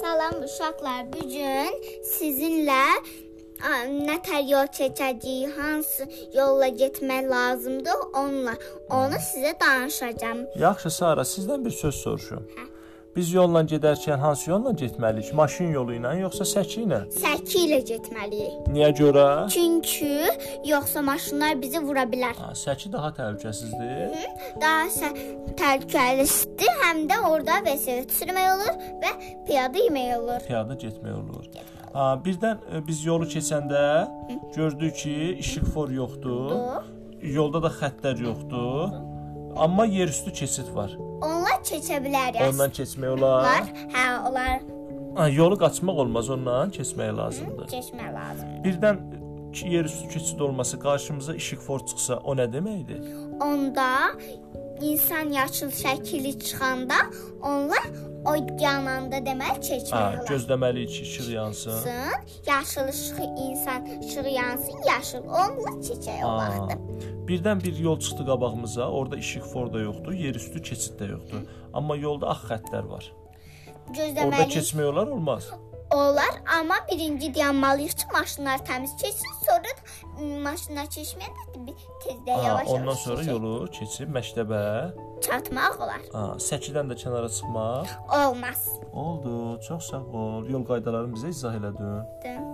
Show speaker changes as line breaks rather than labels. Salam uşaqlar, bu gün sizinlə ə, nə tər yol keçəcəyi, hansı yolla getmək lazımdır, onunla onu sizə danışacağam.
Yaxşı Sara, sizdən bir söz soruşum. Biz yolla gedərkən hansı yolla getməliyik? Maşın yolu ilə yoxsa səki ilə?
Səki ilə getməliyik.
Niyə görə?
Çünki yoxsa maşınlar bizi vura bilər.
Ha, səki daha təhlükəsizdir.
Daha sə- təhlükəlisidir, həm də orada vəsiqə sürmək olur və piyada yemək olur.
Piyada getmək olur. Ha, birdən e, biz yolu keçəndə gördük ki, işıqfor yoxdur. Yolda da xəttlər yoxdur. Amma yerüstü keçid var.
Onlar keçə bilər. yəni.
Ondan keçmək olar.
Hə, onlar
Ha, yolu qaçmaq olmaz, ondan keçmək lazımdır.
keçmək lazımdır.
Birdən ki, yerüstü keçid olması qarşımıza işıqfor çıxsa, o nə deməkdir?
onda insan yaşıl şəkili çıxanda onlar o yananda demək
Hə,
keçmək lazımdır.
gözləməliyik ki, işıq yansın.
Yaşıl işığı insan işığı yansın, yaşıl onunla keçək o
Aa,
vaxtı.
Birdən bir yol çıxdı qabağımıza. Orada işıqfor da yoxdur, yerüstü keçid də yoxdur. Amma yolda ağ xəttlər var. Orda
Gözləməli
keçmək olar olmaz.
olar, amma birinci dayanmalıyıq ki, maşınlar təmiz keçsin, sonra da m, maşınlar keçməyə də bir tezdə
Ha,
yavaş
ondan
yavaş
sonra
keçək.
yolu keçib məktəbə,
çatmaq olar.
ha, səkidən də kənara çıxmaq.
Olmaz.
Oldu. Çox sağ ol. Yol qaydalarını bizə izah elədin.
Dım.